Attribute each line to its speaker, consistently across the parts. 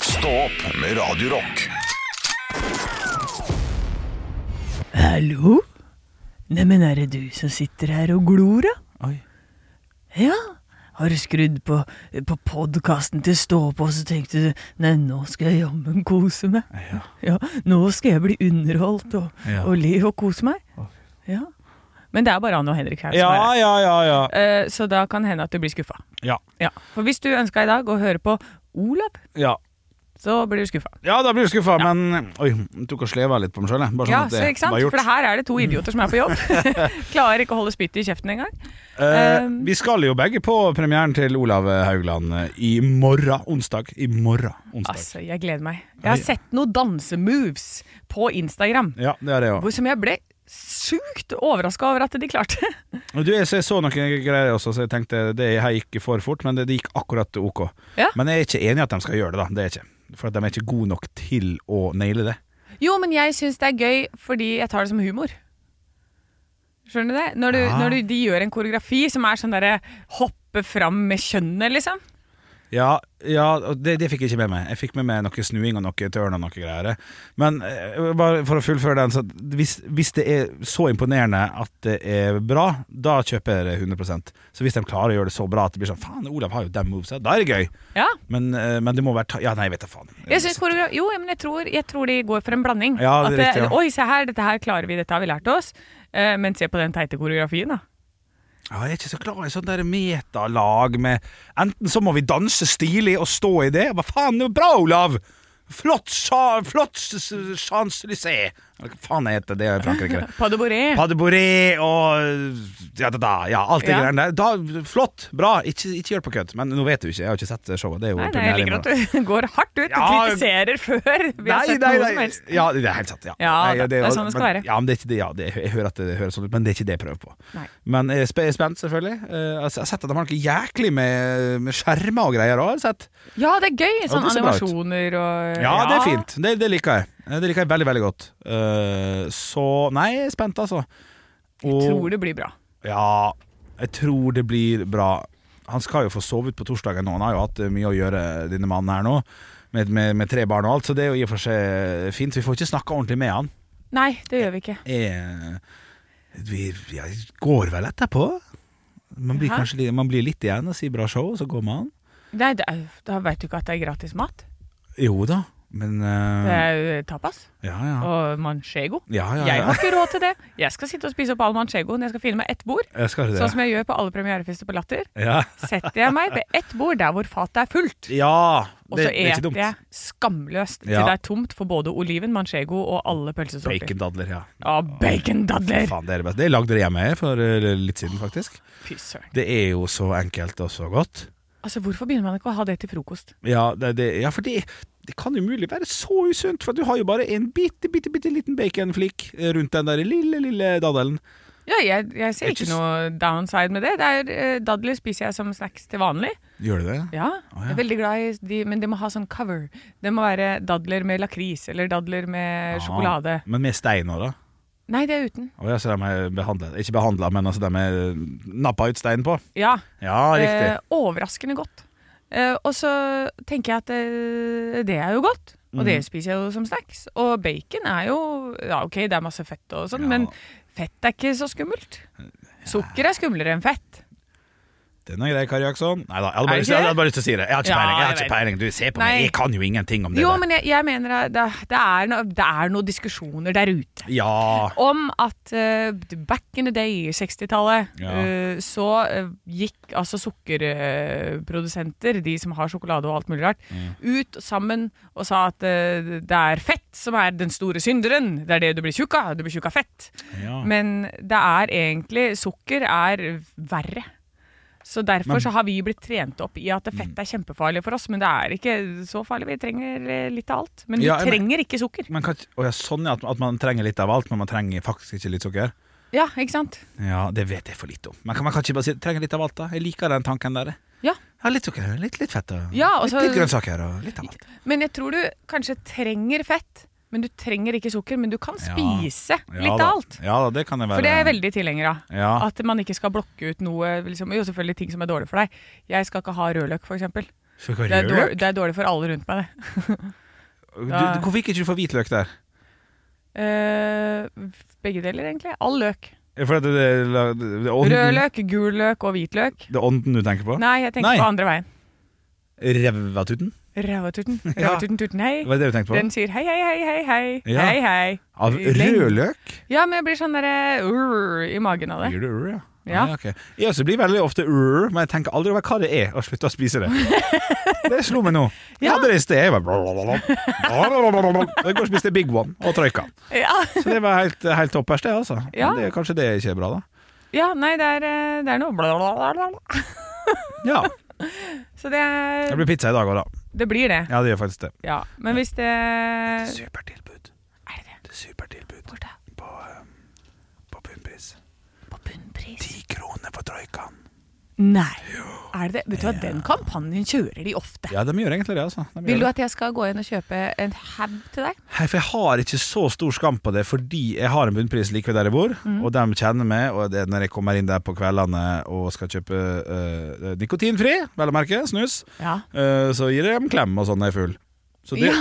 Speaker 1: Stå opp med Radio Rock.
Speaker 2: Hallo? Neimen, er det du som sitter her og glor, da?
Speaker 3: Oi.
Speaker 2: Ja, har du skrudd på, på podkasten til Stå på, og så tenkte du nei, nå skal jeg jammen kose meg.
Speaker 3: Ja.
Speaker 2: Ja, nå skal jeg bli underholdt og,
Speaker 3: Ja.
Speaker 2: og le og kose meg.
Speaker 3: Å,
Speaker 2: Ja. Men det er bare Anne og Henrik her som er
Speaker 3: ja,
Speaker 2: her.
Speaker 3: ja, ja, ja.
Speaker 2: Eh, Så da kan hende at du blir skuffa.
Speaker 3: Ja,
Speaker 2: Ja. For hvis du ønska i dag å høre på Olav,
Speaker 3: ja.
Speaker 2: så blir du skuffa.
Speaker 3: ja da blir du skuffa, men Oi, jeg tok og sleva litt på meg sjøl, jeg. Bare sånn
Speaker 2: Ja,
Speaker 3: at
Speaker 2: så
Speaker 3: det
Speaker 2: ikke sant?
Speaker 3: var gjort.
Speaker 2: For det her er det to idioter som er på jobb. Klarer ikke å holde spyttet i kjeften engang.
Speaker 3: Eh,
Speaker 2: Um,
Speaker 3: vi skal jo begge på premieren til Olav Haugland eh, i morgen, onsdag. I morgen, onsdag.
Speaker 2: Altså, jeg gleder meg. Jeg
Speaker 3: Oi.
Speaker 2: har sett noen dansemoves på Instagram
Speaker 3: Ja, det er det òg.
Speaker 2: hvor som jeg ble sjukt overraska over at de klarte.
Speaker 3: Du, jeg så jeg så noen greier også, så jeg tenkte det her gikk for fort, men det, det gikk akkurat ok.
Speaker 2: Ja.
Speaker 3: Men jeg er ikke enig i at de skal gjøre det, da. Det er jeg ikke. For at de er ikke gode nok til å naile det.
Speaker 2: Jo, men jeg syns det er gøy fordi jeg tar det som humor. Skjønner du det? Når, du,
Speaker 3: Ja.
Speaker 2: når du, de gjør en koreografi som er sånn derre hoppe fram med kjønnet, liksom.
Speaker 3: Ja, ja og det, det fikk jeg ikke med meg. Jeg fikk med meg noe snuing og noe tørn og noe greier. Men eh, bare for å fullføre den, så hvis, hvis det er så imponerende at det er bra, da kjøper jeg det 100 Så hvis de klarer å gjøre det så bra at det blir sånn Faen, Olav har jo de movesa, da er det gøy.
Speaker 2: Ja.
Speaker 3: Men, eh, men det må være ta Ja, nei, jeg vet da faen.
Speaker 2: Jeg synes koreogra- jo, men jeg tror, jeg tror de går for en blanding.
Speaker 3: Ja, det er
Speaker 2: At
Speaker 3: riktig, ja.
Speaker 2: Oi, se her, dette her klarer vi, dette har vi lært oss. Eh, men se på den teite koreografien, da.
Speaker 3: Ja, jeg er ikke så glad i sånn der metalag med Enten så må vi danse stilig og stå i det. Hva faen, det er bra, Olav! Flott, sa- flott Champs-Élysées! Eller hva faen heter det i Frankrike?
Speaker 2: Pas de bourrée.
Speaker 3: Pas de bourrée og ja, da, da, ja, alt det
Speaker 2: Ja.
Speaker 3: greiene der. Da, flott, bra, ikke, ikke gjør det på kødd. Men nå vet du ikke, jeg har ikke sett showet. Det er jo
Speaker 2: Nei, nei, jeg
Speaker 3: premiere i
Speaker 2: liker
Speaker 3: morgen.
Speaker 2: at du går hardt ut og
Speaker 3: Ja.
Speaker 2: kritiserer før vi har sett noe som helst.
Speaker 3: Ja, det er helt sant. Ja,
Speaker 2: Ja,
Speaker 3: Nei,
Speaker 2: det er sånn det skal
Speaker 3: men,
Speaker 2: være.
Speaker 3: Ja, men det er ikke det, ja, det, jeg hører at det høres sånn ut, men det er ikke det jeg prøver på.
Speaker 2: Nei.
Speaker 3: Men jeg er spe- jeg er spent, selvfølgelig. Eh, Jeg har sett at de har noe jæklig med, med skjermer og greier òg.
Speaker 2: Ja, det er gøy! Sånne
Speaker 3: det ser bra ut.
Speaker 2: animasjoner og
Speaker 3: Ja, det er fint. Det, det liker jeg. Eh, Det liker jeg veldig, veldig godt. Eh, Så Nei, jeg er spent, altså. Og-
Speaker 2: Tror det blir bra.
Speaker 3: Ja, jeg tror det blir bra. Han skal jo få sove ut på torsdagen nå. Han har jo hatt eh, mye å gjøre, denne mannen her nå. Med, med, med tre barn og alt, så det er jo i og for seg eh, fint. Vi får ikke snakka ordentlig med han.
Speaker 2: Nei, det gjør vi ikke.
Speaker 3: Jeg, eh, vi ja, går vel etterpå. Man blir,
Speaker 2: Hæ?
Speaker 3: kanskje, litt- man blir litt igjen og sier bra show, og så går man.
Speaker 2: Nei, det er, da veit du ikke at det er gratis mat.
Speaker 3: Jo da, men eh,
Speaker 2: Det er jo tapas
Speaker 3: Ja, ja.
Speaker 2: og manchego.
Speaker 3: ja, ja,
Speaker 2: Jeg
Speaker 3: ja.
Speaker 2: har ikke råd til det. Jeg skal sitte og spise opp all manchegoen. Jeg skal finne meg ett bord,
Speaker 3: Jeg skal
Speaker 2: sånn
Speaker 3: det.
Speaker 2: som jeg gjør på alle premierefester på Latter.
Speaker 3: Ja,
Speaker 2: Setter jeg meg ved ett bord der hvor fatet er fullt,
Speaker 3: ja
Speaker 2: og
Speaker 3: det,
Speaker 2: så
Speaker 3: det er ikke
Speaker 2: eter
Speaker 3: dumt.
Speaker 2: jeg skamløst til
Speaker 3: Ja.
Speaker 2: det er tomt for både oliven, manchego og alle pølsesorter.
Speaker 3: Bacondadler, ja.
Speaker 2: Ja, bacondadler!
Speaker 3: Faen, det er det beste. Det lagde jeg hjemme for eh, litt siden, faktisk.
Speaker 2: Fy søren.
Speaker 3: Det er jo så enkelt og så godt.
Speaker 2: Altså, hvorfor begynner man ikke å ha det til frokost?
Speaker 3: Ja, det, det, ja for det, det kan umulig være så usunt, for du har jo bare en bitte, bitte, bitte liten baconflik eh, rundt den der lille, lille daddelen.
Speaker 2: Ja, jeg, jeg ser
Speaker 3: Jeg
Speaker 2: ikke
Speaker 3: synes-
Speaker 2: noe downside med det. det er, eh, dadler spiser jeg som snacks til vanlig.
Speaker 3: Gjør du det?
Speaker 2: Ja,
Speaker 3: Å,
Speaker 2: jeg
Speaker 3: ja.
Speaker 2: er veldig glad i de, men det må ha sånn cover. Det må være dadler med lakris, eller dadler med sjokolade.
Speaker 3: Men med stein òg, da?
Speaker 2: Nei, det er uten.
Speaker 3: Å ja, så de er behandlet Ikke behandla, men altså de er nappa ut stein på?
Speaker 2: Ja,
Speaker 3: Ja, riktig.
Speaker 2: eh, overraskende godt. Eh, og så tenker jeg at eh, det er jo godt, og
Speaker 3: Mhm.
Speaker 2: det spiser jeg jo som snacks. Og bacon er jo, ja ok, det er masse fett og sånn,
Speaker 3: Ja.
Speaker 2: men fett er ikke så skummelt. Sukker er skumlere enn fett.
Speaker 3: Den er grei, Kari Jaksson. Nei da, jeg hadde
Speaker 2: Er
Speaker 3: bare
Speaker 2: det
Speaker 3: lyst- jeg
Speaker 2: ikke
Speaker 3: hadde bare lyst til å si det. Jeg har
Speaker 2: Ja,
Speaker 3: ikke peiling. Jeg
Speaker 2: jeg
Speaker 3: har ikke peiling. Du ser på
Speaker 2: Nei.
Speaker 3: meg, jeg kan jo ingenting om det.
Speaker 2: Jo,
Speaker 3: der.
Speaker 2: men jeg, jeg mener at det, det, er no, det er noen diskusjoner der ute.
Speaker 3: Ja.
Speaker 2: Om at eh, back in the day, 60-tallet,
Speaker 3: Ja.
Speaker 2: eh, så eh, gikk altså sukkerprodusenter, de som har sjokolade og alt mulig rart,
Speaker 3: Mm.
Speaker 2: ut sammen og sa at eh, det er fett som er den store synderen. Det er det du blir tjukk av. Du blir tjukk av fett.
Speaker 3: ja.
Speaker 2: Men det er egentlig Sukker er verre. Så derfor
Speaker 3: Men- Mm.
Speaker 2: så har vi blitt trent opp i at fett er kjempefarlig for oss. Men det er ikke så farlig. Vi trenger eh, litt av alt. Men vi
Speaker 3: Ja, men-
Speaker 2: trenger ikke sukker.
Speaker 3: Men kan, ikke- å, ja, sånn ja, at, at man trenger litt av alt, men man trenger faktisk ikke litt sukker?
Speaker 2: Ja, ikke sant?
Speaker 3: Ja, det vet jeg for lite om. Men kan man kan ikke bare si trenger litt av alt, da? Jeg liker den tanken der.
Speaker 2: Ja.
Speaker 3: Ja, litt sukker, litt, litt fett og
Speaker 2: Ja, og
Speaker 3: litt,
Speaker 2: så-
Speaker 3: litt grønnsaker og litt av alt.
Speaker 2: Men jeg tror du kanskje trenger fett. Men du trenger ikke sukker. Men du kan
Speaker 3: Ja.
Speaker 2: spise
Speaker 3: ja,
Speaker 2: litt
Speaker 3: da. Ah.
Speaker 2: av alt.
Speaker 3: Ja da, det kan jeg være.
Speaker 2: For det er jeg veldig Ah, tilhenger av.
Speaker 3: Ja.
Speaker 2: At man ikke skal blokke ut noe liksom, Jo, selvfølgelig ting som er dårlig for deg. Jeg skal ikke ha rødløk, f.eks.
Speaker 3: For hva
Speaker 2: Det er,
Speaker 3: gjør
Speaker 2: dårlig, Ah. det er dårlig for alle rundt meg, det.
Speaker 3: du? Du, hvorfor fikk ikke du få hvitløk der?
Speaker 2: Eh, begge deler, egentlig. All løk.
Speaker 3: For det, det, det, det er ånden,
Speaker 2: Rød løk, gul løk og hvit løk.
Speaker 3: Det er ånden du tenker på?
Speaker 2: Nei, jeg tenker
Speaker 3: Nei.
Speaker 2: på andre veien.
Speaker 3: Revatuten?
Speaker 2: Rævatuten,
Speaker 3: Ja.
Speaker 2: rævatuten, tuten, hei.
Speaker 3: Var det det du tenkte på?
Speaker 2: Den sier hei, hei, hei, hei, hei.
Speaker 3: Ja.
Speaker 2: Hei, hei.
Speaker 3: Av
Speaker 2: den-
Speaker 3: rødløk?
Speaker 2: Ja, men jeg blir sånn derre urr i magen av det.
Speaker 3: Gir det ur, ja?
Speaker 2: Ja.
Speaker 3: Ah, ok. Jeg også blir veldig ofte ur, men jeg tenker aldri over hva det er, og slutter å spise det. Det slo meg nå. Jeg
Speaker 2: Ja.
Speaker 3: hadde det i sted. Jeg bare Jeg går og spiste Big One og Troika.
Speaker 2: Ja,
Speaker 3: Så det var helt, helt toppers, det, altså. Men
Speaker 2: Ja.
Speaker 3: Det, er- kanskje det er ikke bra, da.
Speaker 2: ja nei, det er, eh, det er noe blablabla.
Speaker 3: Ja.
Speaker 2: Så det,
Speaker 3: Det
Speaker 2: er,
Speaker 3: blir pizza i dag òg, da.
Speaker 2: det blir det.
Speaker 3: Ja, det gjør faktisk det.
Speaker 2: Ja. Men hvis det Er det
Speaker 3: Supertilbud.
Speaker 2: det?
Speaker 3: Det er supertilbud
Speaker 2: Hvor da?
Speaker 3: på, eh, på bunnpris.
Speaker 2: På bunnpris?
Speaker 3: Ti kroner for Troikaen.
Speaker 2: Nei. Er det det? Vet du hva, den kampanjen kjører de ofte.
Speaker 3: Ja, de gjør egentlig det, altså. De gjør
Speaker 2: Vil
Speaker 3: det.
Speaker 2: du at jeg skal gå inn og kjøpe en haug til deg?
Speaker 3: Hei, for jeg har ikke så stor skam på det, fordi jeg har en bunnpris like ved der jeg bor, og de kjenner meg, og det er når jeg kommer inn der på kveldene og skal kjøpe øh, nikotinfri, vel å merke, snus,
Speaker 2: Ja.
Speaker 3: øh, så gir jeg dem klem og sånn når jeg er full. Så det,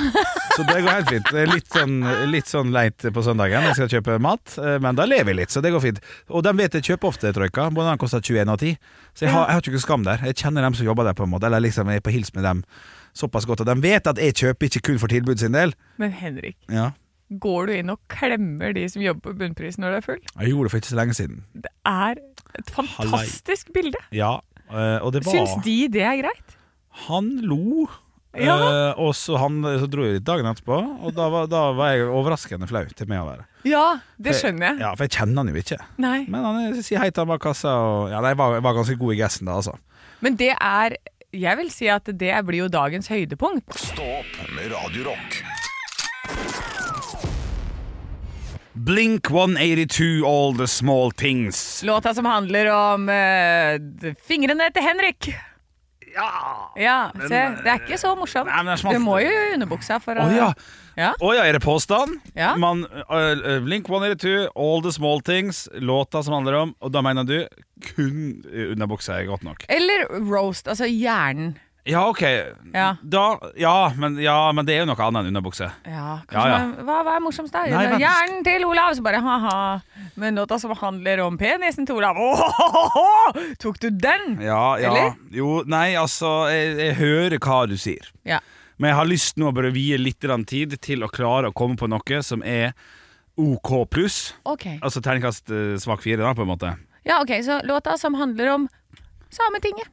Speaker 3: så det går helt fint. Det er litt sånn, litt sånn leit på søndagen, jeg skal kjøpe mat, øh, men da lever jeg litt, så det går fint. Og de vet jeg kjøper ofte trøyka, både den koster 21 og 10, så jeg har, jeg har ikke noe skam der. Jeg kjenner dem som jobber der på en måte, eller liksom jeg er på hils med dem såpass godt, og de vet at jeg kjøper ikke kun for tilbud sin del.
Speaker 2: Men Henrik,
Speaker 3: Ja.
Speaker 2: går du inn og klemmer de som jobber på bunnpris når du er full?
Speaker 3: Jeg gjorde det for ikke så lenge siden.
Speaker 2: Det er et fantastisk bilde.
Speaker 3: Ja, eh, og det var
Speaker 2: Syns de det er greit?
Speaker 3: Han lo. eh,
Speaker 2: Ja.
Speaker 3: og så, han, så dro jeg dit dagen etterpå, og da var, da var jeg overraskende flau til meg å være.
Speaker 2: Ja, det
Speaker 3: For-
Speaker 2: skjønner jeg.
Speaker 3: Ja, For jeg kjenner han jo ikke.
Speaker 2: Nei.
Speaker 3: Men han er- sier hei til han bak kassa, og ja, nei, jeg var, jeg var ganske god i gessen da, altså.
Speaker 2: Men det er Jeg vil si at det blir jo dagens høydepunkt.
Speaker 1: Stå opp med Radio Rock.
Speaker 3: Blink 182, all the small things.
Speaker 2: Låta som handler om eh, d- fingrene til Henrik.
Speaker 3: Ja! eh,
Speaker 2: Ja, se, det er ikke så morsomt.
Speaker 3: Nei, men det er smalt.
Speaker 2: Du må jo i underbuksa for
Speaker 3: Å
Speaker 2: å
Speaker 3: ja.
Speaker 2: Ja.
Speaker 3: Å ja, er det påstand?
Speaker 2: Ja.
Speaker 3: Man, øh, øh, Blink 182, All the Small Things, låta som handler om Og da mener du kun øh, underbuksa er godt nok?
Speaker 2: Eller roast, altså hjernen.
Speaker 3: Ja, OK.
Speaker 2: Ja.
Speaker 3: Da, ja, men, ja, men det er jo noe annet enn underbukse.
Speaker 2: Ja, kanskje
Speaker 3: Ja, ja.
Speaker 2: man- Hva, hva er morsomst, da?
Speaker 3: Nei, vent.
Speaker 2: hjernen til Olav! Så bare ha-ha. Men låta som handler om penisen til Olav Åhåhåhå! Tok du den?
Speaker 3: Ja, ja.
Speaker 2: Eller?
Speaker 3: Jo, nei, altså, jeg, jeg hører hva du sier.
Speaker 2: Ja.
Speaker 3: Men jeg har lyst nå å bare vie litt grann tid til å klare å komme på noe som er OK pluss.
Speaker 2: OK.
Speaker 3: Altså terningkast øh, svak fire, da, på en måte.
Speaker 2: Ja, ok, Så låta som handler om Sametinget.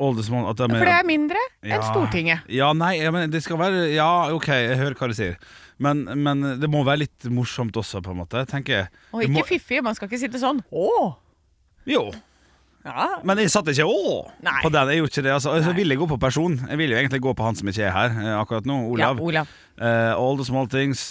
Speaker 3: All the small, at de
Speaker 2: For det er mindre enn
Speaker 3: Ja.
Speaker 2: Stortinget.
Speaker 3: Ja, nei, ja, men det skal være Ja, ok, jeg hører hva du sier. Men, men det må være litt morsomt også, på en måte. Tenker jeg.
Speaker 2: Og
Speaker 3: Det
Speaker 2: ikke
Speaker 3: må,
Speaker 2: fiffig. Man skal ikke sitte sånn. Å!
Speaker 3: Jo,
Speaker 2: Ja.
Speaker 3: men jeg satt ikke å
Speaker 2: Nei.
Speaker 3: på den. Jeg gjorde ikke det. Altså, Og så vil jeg gå på person. Jeg vil jo egentlig gå på han som ikke er her eh, akkurat nå, Olav.
Speaker 2: Ja, Olav.
Speaker 3: Eh, all the small things.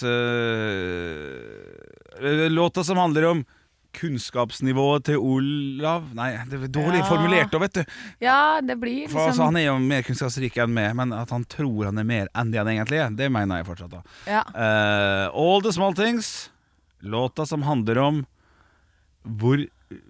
Speaker 3: eh, låta som handler om kunnskapsnivået til Olav Nei, det er dårlig
Speaker 2: Ja.
Speaker 3: formulert òg, vet du.
Speaker 2: ja, det blir
Speaker 3: For, altså,
Speaker 2: liksom
Speaker 3: han er jo mer kunnskapsrik enn meg, men at han tror han er mer enn det han egentlig er, det mener jeg fortsatt. da
Speaker 2: ja.
Speaker 3: Eh, All the small things. Låta som handler om hvor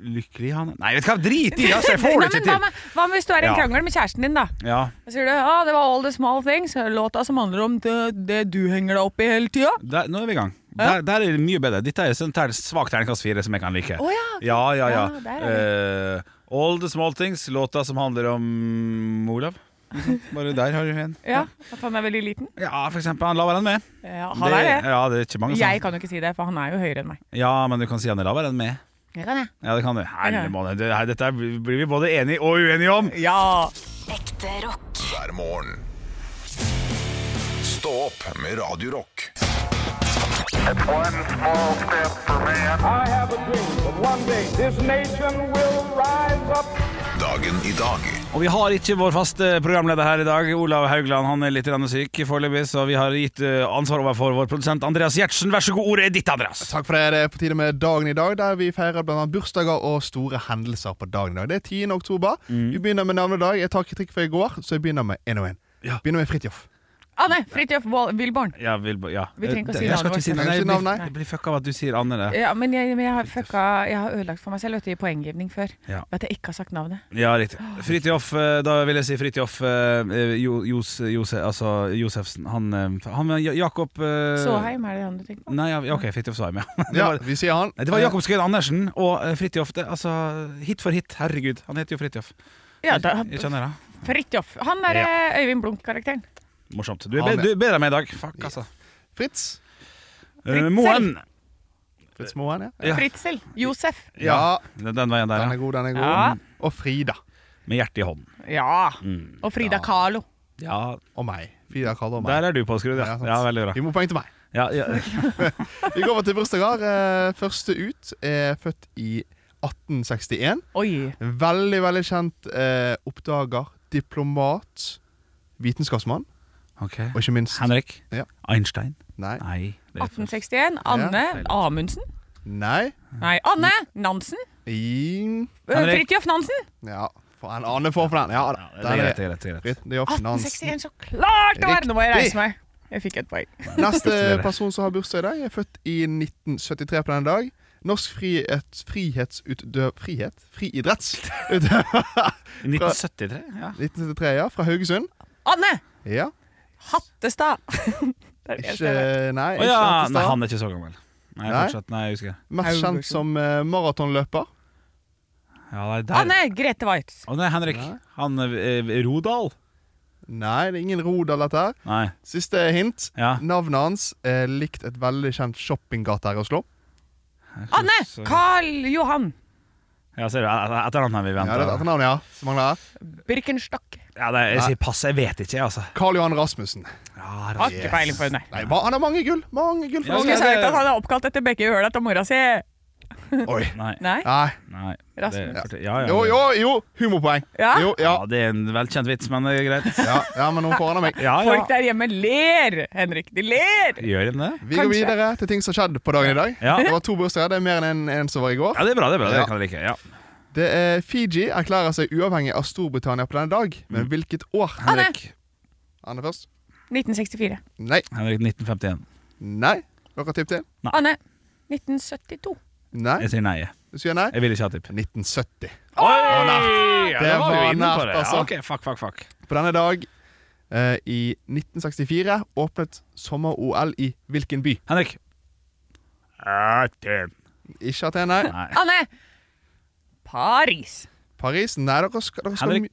Speaker 3: lykkelig han er Nei, vet du hva, drit i! Altså, jeg får
Speaker 2: Nei,
Speaker 3: det ikke
Speaker 2: men hva
Speaker 3: til.
Speaker 2: med, hva med hvis du er i en
Speaker 3: Ja.
Speaker 2: krangel med kjæresten din, da?
Speaker 3: Ja,
Speaker 2: Så sier du ah, 'Det var all the small things', låta som handler om det, det du henger deg opp i hele tida.
Speaker 3: der, Nå er vi i gang.
Speaker 2: Ja.
Speaker 3: Der, der er det mye bedre. Dette er sånn ter- svak terningkast fire som jeg kan like.
Speaker 2: Å ja. ok.
Speaker 3: Ja, ja, ja.
Speaker 2: Ja, der er
Speaker 3: Eh, all the small things. Låta som handler om Olav. Bare der har du en.
Speaker 2: ja. At han er veldig liten?
Speaker 3: Ja, for eksempel. Han lavere enn meg.
Speaker 2: Ja, han er det.
Speaker 3: Ja, det er ikke mange som
Speaker 2: Jeg kan jo ikke si det, for han er jo høyere enn meg.
Speaker 3: Ja, men du kan si han er lavere enn meg.
Speaker 2: Det kan jeg.
Speaker 3: Ja, det kan du.
Speaker 2: Ja.
Speaker 3: Herre måned, det her- dette blir vi både enige og uenige om.
Speaker 2: Ja.
Speaker 4: Ekte rock.
Speaker 1: Hver morgen. Stå opp med Radio Rock.
Speaker 5: One small step for man.
Speaker 6: I have a dream that one day this nation will rise up.
Speaker 1: Dagen i dag.
Speaker 3: Og vi har ikke vår faste programleder her i dag. Olav Haugland han er litt grann syk foreløpig, så vi har gitt eh, ansvar overfor vår produsent Andreas Gjertsen. Vær så god, ordet er ditt, Andreas.
Speaker 7: Takk for det. Det er på tide med dagen i dag, der vi feirer blant annet bursdager og store hendelser på dagen i dag. Det er 10.
Speaker 3: Mm.
Speaker 7: oktober. Vi begynner med navnedag. Jeg tar kritikk for i går, så jeg begynner med én og én.
Speaker 3: Ja.
Speaker 7: Begynner med Fridtjof.
Speaker 2: Ah, nei, Fridtjof Wal- Wilborn.
Speaker 3: Ja, Vilborg, ja.
Speaker 2: Vi trenger ikke å si
Speaker 3: Jeg skal
Speaker 2: navnet
Speaker 3: ikke si
Speaker 2: vårt.
Speaker 7: Trenger ikke
Speaker 3: navnet.
Speaker 7: navn,
Speaker 3: Jeg
Speaker 7: nei.
Speaker 3: blir- blir fucka av at du sier Anne. det.
Speaker 2: Ja, men jeg, men jeg, har, fucka, jeg har ødelagt for meg selv vet du, i poenggivning før.
Speaker 3: Ja.
Speaker 2: Ved at jeg ikke har sagt navnet.
Speaker 3: Ja, riktig. Fridtjof, eh, da vil jeg si Fridtjof eh, Jo- Jos, Jose, altså Josefsen. Han, eh, han Ja- Jakob eh,
Speaker 2: Såheim er det han du tenker på?
Speaker 3: Nei, ja, ja, ok, Fridtjof Svaim, ja. Det
Speaker 7: Ja,
Speaker 3: var,
Speaker 7: vi sier han.
Speaker 3: Nei, det var Jakob Skøyen Andersen og eh, Fridtjof. Det, altså, hit for hit. Herregud, han heter jo Fridtjof.
Speaker 2: Ja, da,
Speaker 3: Jeg kjenner det.
Speaker 2: Fridtjof. Han er eh, Øyvind Blunk-karakteren.
Speaker 3: Morsomt. Du er,
Speaker 7: Han
Speaker 3: bedre,
Speaker 7: er-
Speaker 3: du er bedre enn meg i dag. Fuck, altså.
Speaker 7: Fritz.
Speaker 3: Eh, Moen.
Speaker 7: Fritz Moen, ja.
Speaker 3: Ja.
Speaker 2: Fritzel. Josef.
Speaker 7: Ja,
Speaker 3: Den, den veien der,
Speaker 7: den
Speaker 3: ja.
Speaker 7: er god, den er god. Mm.
Speaker 2: Ja.
Speaker 7: Og Frida.
Speaker 3: Med hjertet i hånden.
Speaker 2: Ja. Og Frida Kahlo.
Speaker 3: Ja,
Speaker 7: Og meg. Frida kaller meg.
Speaker 3: der er du påskrudd, ja.
Speaker 7: sant.
Speaker 3: Ja, veldig bra.
Speaker 7: Vi må poeng til meg.
Speaker 3: Ja, ja.
Speaker 7: Vi går over til bursdager. Eh, Første ut er født i 1861.
Speaker 2: Oi.
Speaker 7: Veldig, veldig kjent eh, oppdager, diplomat, vitenskapsmann,
Speaker 3: Ok.
Speaker 7: og ikke minst
Speaker 3: Henrik.
Speaker 7: Ja.
Speaker 3: Einstein.
Speaker 7: Nei.
Speaker 3: Nei. det er feil.
Speaker 2: 1861. Anne
Speaker 3: feil.
Speaker 2: Amundsen.
Speaker 7: Nei.
Speaker 2: Nei, Anne Nansen.
Speaker 7: I
Speaker 2: Eh,
Speaker 3: Henrik.
Speaker 2: Fridtjof Nansen.
Speaker 7: Ja, for en annen form for den. Ja, da.
Speaker 3: Det er greit, det er greit. Det er greit.
Speaker 7: Britt Njoff Nansen.
Speaker 2: 1861, så klart det var! Nå må jeg
Speaker 7: Riktig.
Speaker 2: reise meg. Jeg fikk et poeng.
Speaker 7: Neste
Speaker 3: Gratulerer.
Speaker 7: person som har bursdag i dag, er født i 1973 på denne dag. Norsk frihet, frihetsutdøv... Frihet? Friidrettsutøver.
Speaker 3: 1973? Ja.
Speaker 7: 1973, ja. Fra Haugesund.
Speaker 2: Anne
Speaker 7: Ja.
Speaker 2: Hattestad. Det er det jeg
Speaker 7: Ikke
Speaker 2: ser.
Speaker 7: Nei,
Speaker 3: Å
Speaker 7: ikke
Speaker 3: ja.
Speaker 7: Hattestad.
Speaker 3: Nei, han er ikke så gammel. Nei,
Speaker 7: Nei?
Speaker 3: fortsatt. Nei, jeg husker.
Speaker 7: Mest kjent som eh, maratonløper.
Speaker 3: Ja, nei, der.
Speaker 2: Anne Grete Waitz.
Speaker 3: Å, nei, Henrik.
Speaker 7: Nei.
Speaker 3: Han eh, Rodal?
Speaker 7: Nei, det er ingen Rodal, dette her.
Speaker 3: Nei.
Speaker 7: Siste hint.
Speaker 3: Ja.
Speaker 7: Navnet hans er likt et veldig kjent shoppinggate her i Oslo.
Speaker 2: Anne
Speaker 3: Så-
Speaker 2: Karl Johan
Speaker 3: Ja, ser du. et- Etter han her vi
Speaker 7: Ja, det er
Speaker 3: venter.
Speaker 7: etternavnet, ja. Som mangler her.
Speaker 2: Birkenstock.
Speaker 3: Ja, det, jeg sier pass. Jeg vet ikke, jeg, altså.
Speaker 7: Karl Johan Rasmussen.
Speaker 3: Ja,
Speaker 2: Har ikke peiling på henne.
Speaker 7: Nei, ma- han har mange gull. Mange gull
Speaker 3: Ja,
Speaker 7: for
Speaker 2: Mange
Speaker 3: det-
Speaker 7: Norge.
Speaker 2: sa jo ikke at han er oppkalt etter Bekke i Øla til mora si.
Speaker 7: Oi.
Speaker 3: Nei.
Speaker 2: Nei?
Speaker 7: Nei.
Speaker 3: nei.
Speaker 2: Rasmus.
Speaker 3: Det, forte- ja, ja,
Speaker 7: Jo,
Speaker 3: det-
Speaker 7: jo, jo. Humorpoeng.
Speaker 2: Ja?
Speaker 7: Jo, ja.
Speaker 3: Ja, det er en velkjent vits, men det er greit.
Speaker 7: ja. Ja, men nå forandrer meg.
Speaker 3: Ja, ja.
Speaker 2: Folk der hjemme ler, Henrik. De ler!
Speaker 3: Gjør de det?
Speaker 7: Vi går
Speaker 2: Kanskje.
Speaker 7: videre til ting som skjedde på dagen i dag.
Speaker 3: Ja.
Speaker 7: Det var to bursdager. Det er mer enn en, en som var i går.
Speaker 3: Ja, det er bra. Det er bra, det
Speaker 7: Ja.
Speaker 3: kan jeg like. Ja.
Speaker 7: Det er Fiji erklærer seg uavhengig av Storbritannia på denne dag.
Speaker 3: Mm.
Speaker 7: Men hvilket år?
Speaker 3: Henrik,
Speaker 7: Anne først.
Speaker 2: 1964.
Speaker 7: Nei.
Speaker 3: Henrik 1951.
Speaker 7: Nei. Dere tipp til?
Speaker 2: Anne 1972.
Speaker 7: Nei.
Speaker 3: Jeg sier nei. jeg.
Speaker 7: Du sier nei?
Speaker 3: Jeg vil ikke ha tipp.
Speaker 7: 1970.
Speaker 3: Oi! Ja,
Speaker 7: Det
Speaker 3: da var
Speaker 7: var
Speaker 3: vi inne på
Speaker 7: nært,
Speaker 3: det. Ja,
Speaker 7: altså.
Speaker 3: ok, fuck, fuck, fuck.
Speaker 7: På denne dag eh, i 1964 åpnet sommer-OL i hvilken by?
Speaker 3: Henrik. Ah, Aten.
Speaker 7: Ikke Aten, nei.
Speaker 3: Nei.
Speaker 2: Anne Paris.
Speaker 7: Paris? Nei, dere skal, dere skal
Speaker 3: Henrik.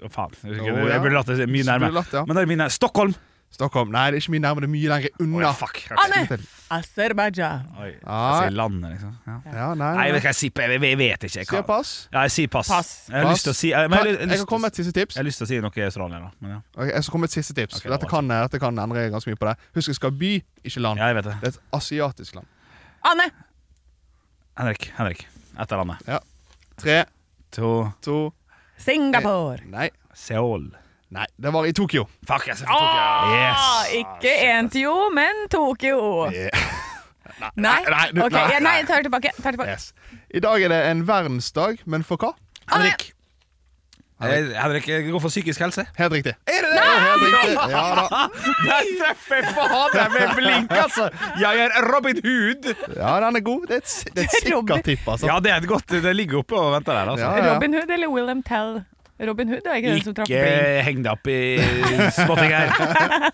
Speaker 3: Å, faen. Jeg husker-
Speaker 7: Å, ja.
Speaker 3: Jeg burde latt det mye
Speaker 7: Skulle
Speaker 3: nærmere.
Speaker 7: latt, ja.
Speaker 3: Men det er mine. Stockholm!
Speaker 7: Stockholm. Nei, det er ikke mye nærmere. Det er mye lenger
Speaker 3: Oi,
Speaker 7: unna.
Speaker 3: fuck.
Speaker 2: Anne
Speaker 7: Slutt.
Speaker 2: Aserbajdsjan.
Speaker 3: Oi,
Speaker 7: Ah.
Speaker 3: jeg sier landet, liksom. Ja.
Speaker 7: Ja, nei,
Speaker 3: Nei,
Speaker 7: nei.
Speaker 3: jeg vet, ikke, jeg, sier- jeg, jeg vet ikke. Jeg,
Speaker 7: Sier
Speaker 3: kan-
Speaker 7: pass.
Speaker 3: Ja, jeg sier pass.
Speaker 2: Pass.
Speaker 3: Jeg har
Speaker 7: Pass.
Speaker 3: lyst til å si jeg, men
Speaker 7: Kan,
Speaker 3: jeg,
Speaker 7: jeg
Speaker 3: jeg,
Speaker 7: kan komme med et siste tips.
Speaker 3: jeg har lyst til å si noe australier, da. Men ja.
Speaker 7: Ok, jeg skal komme med et siste tips
Speaker 3: Ok,
Speaker 7: for Dette
Speaker 3: det var
Speaker 7: kan, dette kan endre ganske mye på det. Husk, jeg skal by, ikke land.
Speaker 3: ja, jeg vet det.
Speaker 7: Det er et asiatisk land.
Speaker 2: Anne
Speaker 3: Henrik. Henrik. Et eller annet.
Speaker 7: Tre,
Speaker 3: To
Speaker 7: to
Speaker 2: Singapore.
Speaker 7: Nei.
Speaker 3: Seoul.
Speaker 7: Nei, det var i Tokyo.
Speaker 3: Fuck, jeg sier
Speaker 2: Ah,
Speaker 3: Tokyo.
Speaker 2: Ikke én til jo, men Tokyo. Nei?
Speaker 7: nei, du-
Speaker 2: Ok,
Speaker 7: nei,
Speaker 2: ja, nei,
Speaker 7: nei.
Speaker 2: jeg tar det tilbake. Tar det tilbake.
Speaker 7: Yes. I dag er det en verdensdag, men for hva?
Speaker 3: Henrik. Henrik. Eh, Henrik, jeg går for psykisk helse.
Speaker 7: Helt riktig. Er det det? Helt riktig. Ja da.
Speaker 3: Der treffer jeg faen deg med blink, altså! Jeg er Robin Hood!
Speaker 7: Ja, den er god. Det er et, s- det er et
Speaker 2: Det er Robin.
Speaker 7: sikkert tipp, altså.
Speaker 3: Ja, det er et godt Det ligger oppe og venter der, altså.
Speaker 7: Ja, ja.
Speaker 2: Robin Hood eller William Tell? Robin Hood er ikke den som traff
Speaker 3: Ikke
Speaker 2: Bing.
Speaker 3: heng deg opp i småting her.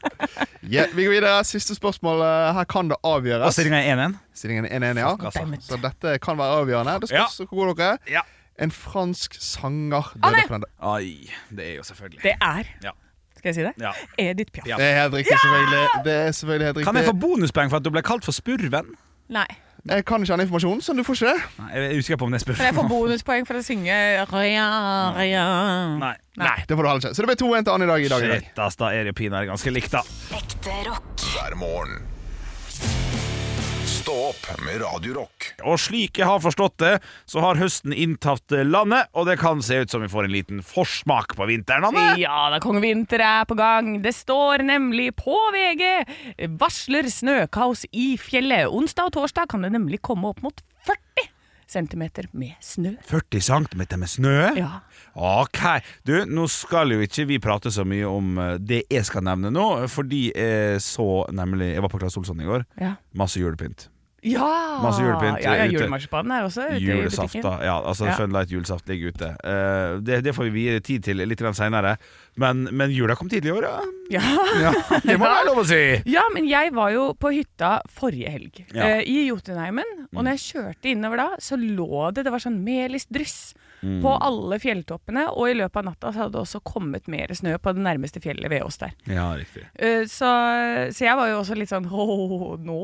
Speaker 7: Ja, vi går videre. Siste spørsmål. eh, Her kan det
Speaker 3: Og
Speaker 7: avgjøres.
Speaker 3: stillingen er 1-1.
Speaker 7: Stillingen er 1-1, ja.
Speaker 3: Fuck, altså.
Speaker 7: Så dette kan være avgjørende. Det spørs hvor gode dere er.
Speaker 3: Ja.
Speaker 7: En fransk sanger
Speaker 2: Anne!
Speaker 7: døde på den dagen.
Speaker 3: Ai, det er jo selvfølgelig.
Speaker 2: Det er
Speaker 3: Ja.
Speaker 2: Skal jeg si det?
Speaker 3: Ja.
Speaker 2: Edith Piaf.
Speaker 3: Ja.
Speaker 7: Det er helt riktig, selvfølgelig. Det er selvfølgelig helt riktig.
Speaker 3: Kan jeg få bonuspoeng for at du ble kalt for spurven?
Speaker 2: Nei.
Speaker 7: Jeg kan ikke annen informasjon, så du får ikke det.
Speaker 3: Nei, jeg er usikker på om det er
Speaker 2: Men jeg
Speaker 3: spurven.
Speaker 2: får bonuspoeng for å synge Rien, rien.
Speaker 3: Nei.
Speaker 2: Nei.
Speaker 7: Det får du heller ikke. Så det ble 2-1 til Anne i dag. i dag, i dag.
Speaker 3: Shit, ass, da er det jo pinadø ganske likt, da.
Speaker 4: Ekte rock.
Speaker 1: hver morgen. Stå opp med Radio Rock.
Speaker 3: Og slik jeg har forstått det, så har høsten inntatt landet, og det kan se ut som vi får en liten forsmak på vinteren. Anne.
Speaker 2: Ja da, Kong Vinter er på gang. Det står nemlig på VG varsler snøkaos i fjellet. Onsdag og torsdag kan det nemlig komme opp mot 40 centimeter med snø.
Speaker 3: 40 cm med snø?
Speaker 2: Ja.
Speaker 3: Ok. Du, nå skal jo ikke vi prate så mye om eh, det jeg skal nevne nå, fordi jeg så nemlig Jeg var på Claes Olsson i går.
Speaker 2: Ja!
Speaker 3: Masse julepynt.
Speaker 2: ja.
Speaker 3: Masse julepynt
Speaker 2: Ja, ja
Speaker 3: ute.
Speaker 2: Julemarsipanen er også ute i butikken.
Speaker 3: Julesafta. Ja, altså
Speaker 2: Ja.
Speaker 3: Funlight julesaft ligger ute. Eh, det, det får vi vie tid til litt seinere. Men, men jula kom tidlig i år, ja.
Speaker 2: Ja.
Speaker 3: ja. Det må være lov å si!
Speaker 2: Ja, men jeg var jo på hytta forrige helg,
Speaker 3: Ja. Mm.
Speaker 2: eh, i Jotunheimen. Og når jeg kjørte innover da, så lå det det var sånn melisdryss
Speaker 3: Mm.
Speaker 2: på alle fjelltoppene. Og i løpet av natta så hadde det også kommet mer snø på det nærmeste fjellet ved oss der.
Speaker 3: Ja, riktig.
Speaker 2: Eh, så, så jeg var jo også litt sånn åh, nå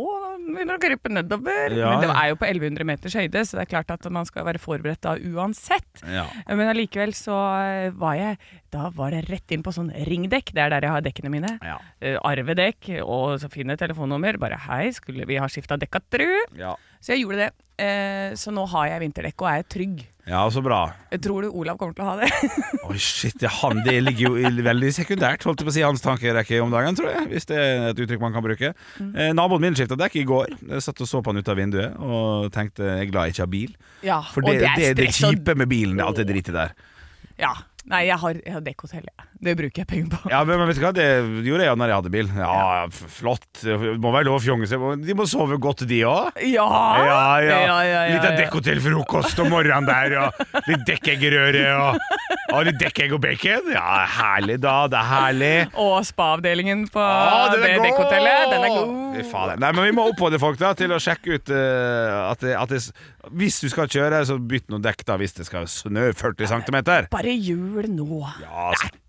Speaker 2: begynner det å krype nedover.
Speaker 3: Ja,
Speaker 2: Men det
Speaker 3: ja.
Speaker 2: er jo på 1100 meters høyde, så det er klart at man skal være forberedt da uansett.
Speaker 3: Ja.
Speaker 2: Men allikevel så eh, var jeg Da var det rett inn på sånn ringdekk. Det er der jeg har dekkene mine.
Speaker 3: Ja.
Speaker 2: Eh, arvedekk og så finne telefonnummer. Bare 'hei, skulle vi ha skifta dekka, tru?'
Speaker 3: Ja.
Speaker 2: Så jeg gjorde det. Eh, så nå har jeg vinterdekk og er trygg.
Speaker 3: ja, så bra.
Speaker 2: Tror du Olav kommer til å ha det?
Speaker 3: Oi, shit, det, han, det ligger jo i- veldig sekundært, holdt jeg på å si, hans tankerekke om dagen, tror jeg. Hvis det er et uttrykk man kan bruke. Eh, naboen min skifta dekk i går. Jeg satt og så på han ut av vinduet og tenkte jeg er glad jeg ikke har bil.
Speaker 2: ja,
Speaker 3: For det, det, det,
Speaker 2: og-
Speaker 3: kjipe med bilen, det er alt det dritet der.
Speaker 2: Ja. Nei, jeg har, jeg har dekkhotell, jeg. Det bruker jeg penger på.
Speaker 3: Ja, men men vet du hva, det gjorde jeg når jeg hadde bil. Ja, f- flott. Det må være lov å fjonge seg. De må sove godt, de òg.
Speaker 2: Ja!
Speaker 3: Ja, Ah, ja. Litt av
Speaker 2: ja.
Speaker 3: dekko til frokost om morgenen der, og litt dekkeggerøre og, og litt dekkegg og bacon. Ja, herlig da. Det er herlig.
Speaker 2: Og spa-avdelingen på
Speaker 3: Ah, den er
Speaker 2: det
Speaker 3: god!
Speaker 2: dekkhotellet. Den er god.
Speaker 3: Fy fader. Nei, men Vi må oppfordre folk da til å sjekke ut eh, at, det, at det, s- Hvis du skal kjøre, så bytt noe dekk da hvis det skal snø 40 cm.
Speaker 2: Bare jul nå.
Speaker 3: Ja, altså.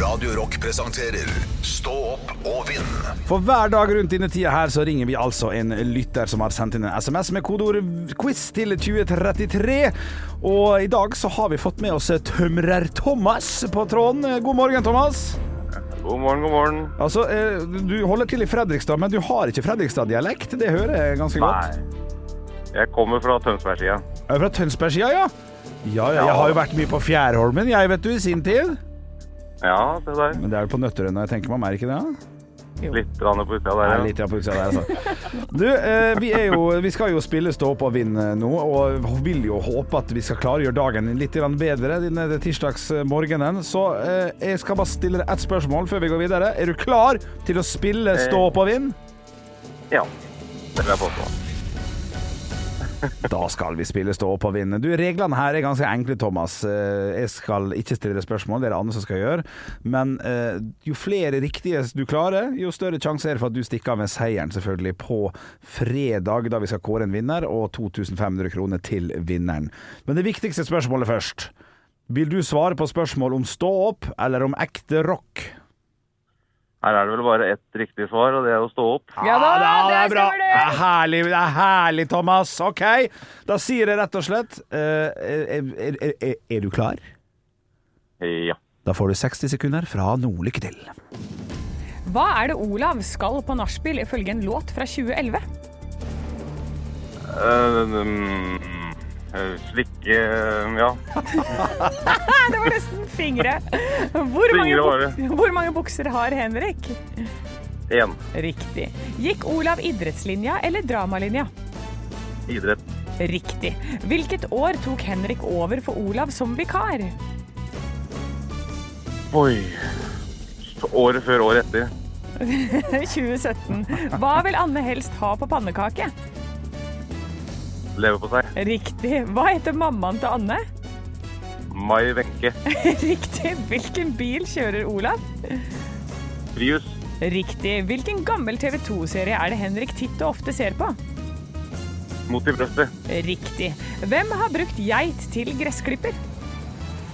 Speaker 1: Radio Rock presenterer Stå opp og vinn.
Speaker 3: For hver dag rundt denne tida her så ringer vi altså en lytter som har sendt inn en SMS med kodeord 'quiz' til 2033. Og i dag så har vi fått med oss Tømrer-Thomas på tråden. God morgen, Thomas.
Speaker 8: God morgen, god morgen.
Speaker 3: Altså, eh, Du holder til i Fredrikstad, men du har ikke Fredrikstad-dialekt. Det hører jeg ganske godt.
Speaker 8: Nei. Jeg kommer fra Tønsberg-sida.
Speaker 3: Jeg er fra Tønsbergsida, ja. Ja, ja, jeg har jo vært mye på Fjærholmen, jeg, vet du, i sin tid.
Speaker 8: Ja, se der.
Speaker 3: Men det er vel på Nøtterøy når jeg tenker meg om, er det ikke det? da?
Speaker 8: Litt grann på utsida
Speaker 3: Jeg
Speaker 8: der,
Speaker 3: er
Speaker 8: ja.
Speaker 3: litt på utsida der, altså. Du, eh, vi, er jo, vi skal jo spille Stå opp og vinne nå, og vil jo håpe at vi skal klare å gjøre dagen litt grann bedre denne tirsdagsmorgenen. Så eh, jeg skal bare stille deg ett spørsmål før vi går videre. Er du klar til å spille Stå opp og vinn?
Speaker 8: Ja. Det vil jeg påstå.
Speaker 3: Da skal vi spille stå opp og vinne. Du, Reglene her er ganske enkle, Thomas. Eh, Jeg skal ikke stille spørsmål, det er det andre som skal gjøre. Men eh, jo flere riktige du klarer, jo større sjanse er det for at du stikker av med seieren, selvfølgelig, på fredag, da vi skal kåre en vinner, og 2500 kroner til vinneren. Men det viktigste spørsmålet først. Vil du svare på spørsmål om stå opp eller om ekte rock?
Speaker 8: Her er det vel bare ett riktig svar, og det er å stå opp.
Speaker 2: Ja da,
Speaker 3: det er
Speaker 2: der
Speaker 3: bra.
Speaker 2: stemmer
Speaker 3: Det
Speaker 2: det.
Speaker 3: er herlig, det er herlig, Thomas. OK, da sier jeg rett og slett eh, er, er, er, er du klar?
Speaker 8: Ja.
Speaker 3: Da får du 60 sekunder fra nå. Lykke til.
Speaker 2: Hva er det Olav skal på nachspiel ifølge en låt fra 2011?
Speaker 8: Eh, mm, eh, Slikke eh, Ja.
Speaker 2: Det var nesten fingre. Hvor mange,
Speaker 8: Fingre var det.
Speaker 2: buk- hvor mange bukser har Henrik?
Speaker 8: Én.
Speaker 2: Riktig. Gikk Olav idrettslinja eller dramalinja?
Speaker 8: Idrett.
Speaker 2: Riktig. Hvilket år tok Henrik over for Olav som vikar?
Speaker 8: Oi. Året før året etter.
Speaker 2: 2017. Hva vil Anne helst ha på pannekake?
Speaker 8: Lever på seg.
Speaker 2: Riktig. Hva heter mammaen til Anne?
Speaker 8: Mai Wenche.
Speaker 2: Riktig. Hvilken bil kjører Olav?
Speaker 8: Prius.
Speaker 2: Riktig. Hvilken gammel TV 2-serie er det Henrik titt og ofte ser på?
Speaker 8: Mot i brøstet.
Speaker 2: Riktig. Hvem har brukt geit til gressklipper?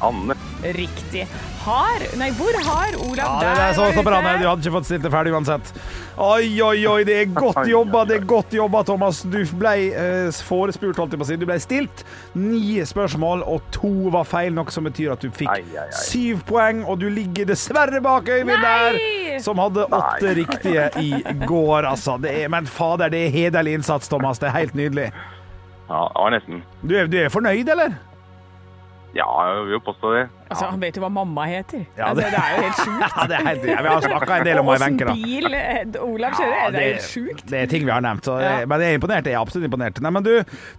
Speaker 8: Anne.
Speaker 2: Riktig. Har Nei, hvor har Olav
Speaker 3: Ja, det
Speaker 2: Der
Speaker 3: er så,
Speaker 2: var
Speaker 3: så bra.
Speaker 2: ute.
Speaker 3: Nei, du hadde ikke fått stilt det ferdig uansett. Oi, oi, oi, det er godt jobba, det er godt jobba, Thomas. Du ble eh, forespurt, holdt jeg på å si. Du ble stilt ni spørsmål, og to var feil, noe som betyr at du
Speaker 8: Ai,
Speaker 3: fikk
Speaker 8: ai, ai.
Speaker 3: syv poeng, og du ligger dessverre bak Øyvind der,
Speaker 2: Nei!
Speaker 3: som hadde åtte
Speaker 8: Nei.
Speaker 3: riktige i går, altså. Det er, men fader, det er hederlig innsats, Thomas. Det er helt nydelig.
Speaker 8: Ja, det var nesten.
Speaker 3: Du er, du er fornøyd, eller?
Speaker 8: Ja, jeg vil jo påstå det.
Speaker 2: Altså, han vet jo hva mamma heter. Altså,
Speaker 3: Ja,
Speaker 2: det,
Speaker 3: det-
Speaker 2: det er jo helt sjukt.
Speaker 3: Ja, det er helt nydelig. Vi har snakka en del om
Speaker 2: Og
Speaker 3: henne i
Speaker 2: åssen
Speaker 3: benken, da.
Speaker 2: bil eh, Olav kjører,
Speaker 3: Ja,
Speaker 2: det er helt sjukt.
Speaker 3: Det er ting vi har nevnt. Så, eh,
Speaker 2: Ja.
Speaker 3: Men jeg er imponert. Jeg er absolutt imponert. Nei, men du,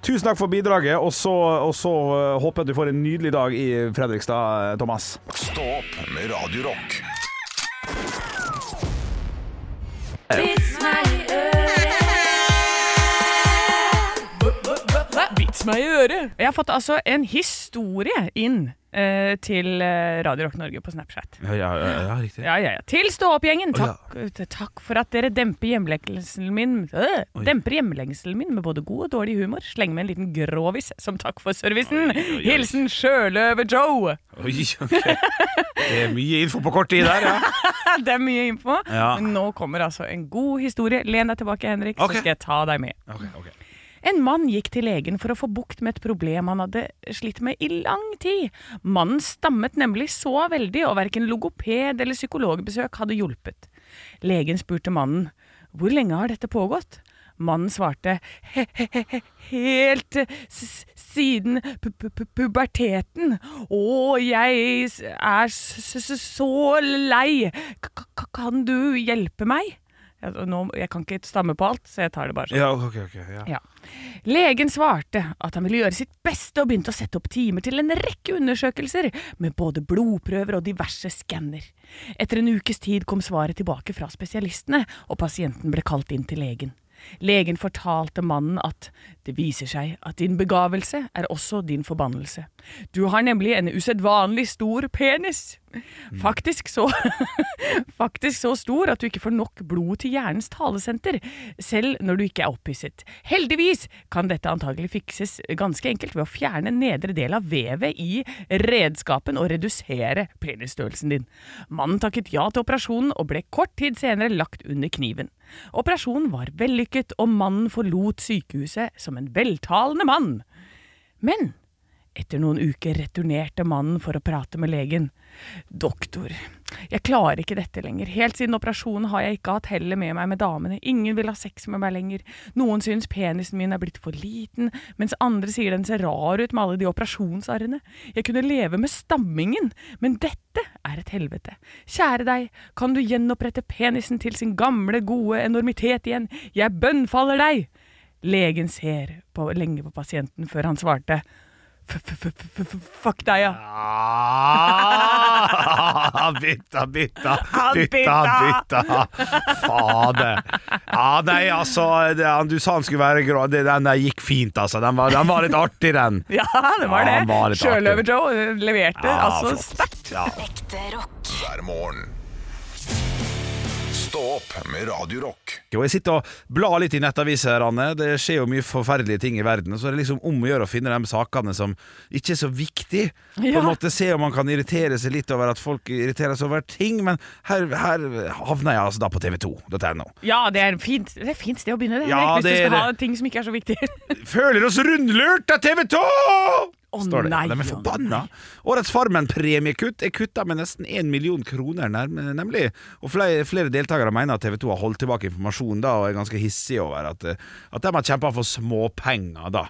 Speaker 3: tusen takk for bidraget, og så, og så eh, håper jeg at du får en nydelig dag i Fredrikstad, eh, Thomas.
Speaker 1: Stå opp med Radio Rock.
Speaker 2: Vits meg i øret! Jeg har fått altså en historie inn eh, til eh, Radio Rock Norge på Snapchat.
Speaker 3: Ja, ja, riktig.
Speaker 2: Ja, ja, ja. Til stå opp-gjengen!
Speaker 3: Å, ja.
Speaker 2: Takk, eh, takk for at dere demper hjemlengselen min øh, Demper hjemlengselen min med både god og dårlig humor. Sleng med en liten grovis som takk for servicen. Hilsen Sjøløve-Joe!
Speaker 3: Det er mye info på kort tid der, ja.
Speaker 2: Ja, Det er mye info.
Speaker 3: Ja.
Speaker 2: Men nå kommer altså en god historie. Len deg tilbake, Henrik,
Speaker 3: Ok.
Speaker 2: så skal jeg ta deg med. En mann gikk til legen for å få bukt med et problem han hadde slitt med i lang tid. Mannen stammet nemlig så veldig, og verken logoped eller psykologbesøk hadde hjulpet. Legen spurte mannen, hvor lenge har dette pågått? Mannen svarte, he-he-he, helt eh, s siden pu pu pu puberteten. Å, jeg s- er s s så lei. K k kan du hjelpe meg? Jeg, nå, jeg kan ikke stamme på alt, så jeg tar det bare sånn.
Speaker 3: Ja, ok, ok. Ja.
Speaker 2: Ja. Legen svarte at han ville gjøre sitt beste og begynte å sette opp timer til en rekke undersøkelser med både blodprøver og diverse skanner. Etter en ukes tid kom svaret tilbake fra spesialistene, og pasienten ble kalt inn til legen. Legen fortalte mannen at det viser seg at din begavelse er også din forbannelse. Du har nemlig en usedvanlig stor penis. Faktisk så Faktisk så stor at du ikke får nok blod til hjernens talesenter, selv når du ikke er opphisset. Heldigvis kan dette antagelig fikses ganske enkelt ved å fjerne nedre del av vevet i redskapen og redusere penisstørrelsen din. Mannen takket ja til operasjonen og ble kort tid senere lagt under kniven. Operasjonen var vellykket, og mannen forlot sykehuset som en veltalende mann. Men etter noen uker returnerte mannen for å prate med legen. Doktor, jeg klarer ikke dette lenger. Helt siden operasjonen har jeg ikke hatt hellet med meg med damene. Ingen vil ha sex med meg lenger. Noen syns penisen min er blitt for liten, mens andre sier den ser rar ut med alle de operasjonsarrene. Jeg kunne leve med stammingen, men dette er et helvete. Kjære deg, kan du gjenopprette penisen til sin gamle, gode enormitet igjen? Jeg bønnfaller deg! Legen ser på, lenge på pasienten før han svarte «F- f- f- f- f- Fuck deg, ja.
Speaker 3: Ah, bytta, bytta, bytta, bytta. Fader. Ja, nei, altså det, Du sa han skulle være grå. Det- Den der gikk fint, altså. Den var, den var litt artig, den.
Speaker 2: Ja, det var
Speaker 3: Ja,
Speaker 2: det.
Speaker 3: han var litt artig.
Speaker 2: Sjøløver-Joe eh, leverte
Speaker 3: Ja,
Speaker 2: altså
Speaker 3: flott.
Speaker 2: sterkt.
Speaker 3: Ja.
Speaker 4: Ekte rock.
Speaker 1: hver morgen. Stå opp med Radio Rock.
Speaker 3: Og jeg sitter og blar litt i nettaviser, Anne. Det skjer jo mye forferdelige ting i verden. Så det er liksom om å gjøre å finne de sakene som ikke er så viktige. På
Speaker 2: Ja.
Speaker 3: en måte Se om man kan irritere seg litt over at folk irriterer seg over ting, men her, her havner jeg altså da på tv2.no.
Speaker 2: Ja, det er fint Det er fint sted å begynne, det.
Speaker 3: Ja,
Speaker 2: Henrik, hvis
Speaker 3: det
Speaker 2: du
Speaker 3: er
Speaker 2: skal
Speaker 3: det.
Speaker 2: ha ting som ikke er så viktige.
Speaker 3: Føler oss rundlurt av TV 2!
Speaker 2: Å,
Speaker 3: Står det.
Speaker 2: nei,
Speaker 3: Ja,
Speaker 2: å,
Speaker 3: De er forbanna. Årets Farmen-premiekutt er kutta med nesten 1 million kroner, nærm- nemlig. Og flere, flere deltakere mener at TV 2 har holdt tilbake informasjon da, og er ganske hissige over at, eh, at de har kjempa for småpenger, da.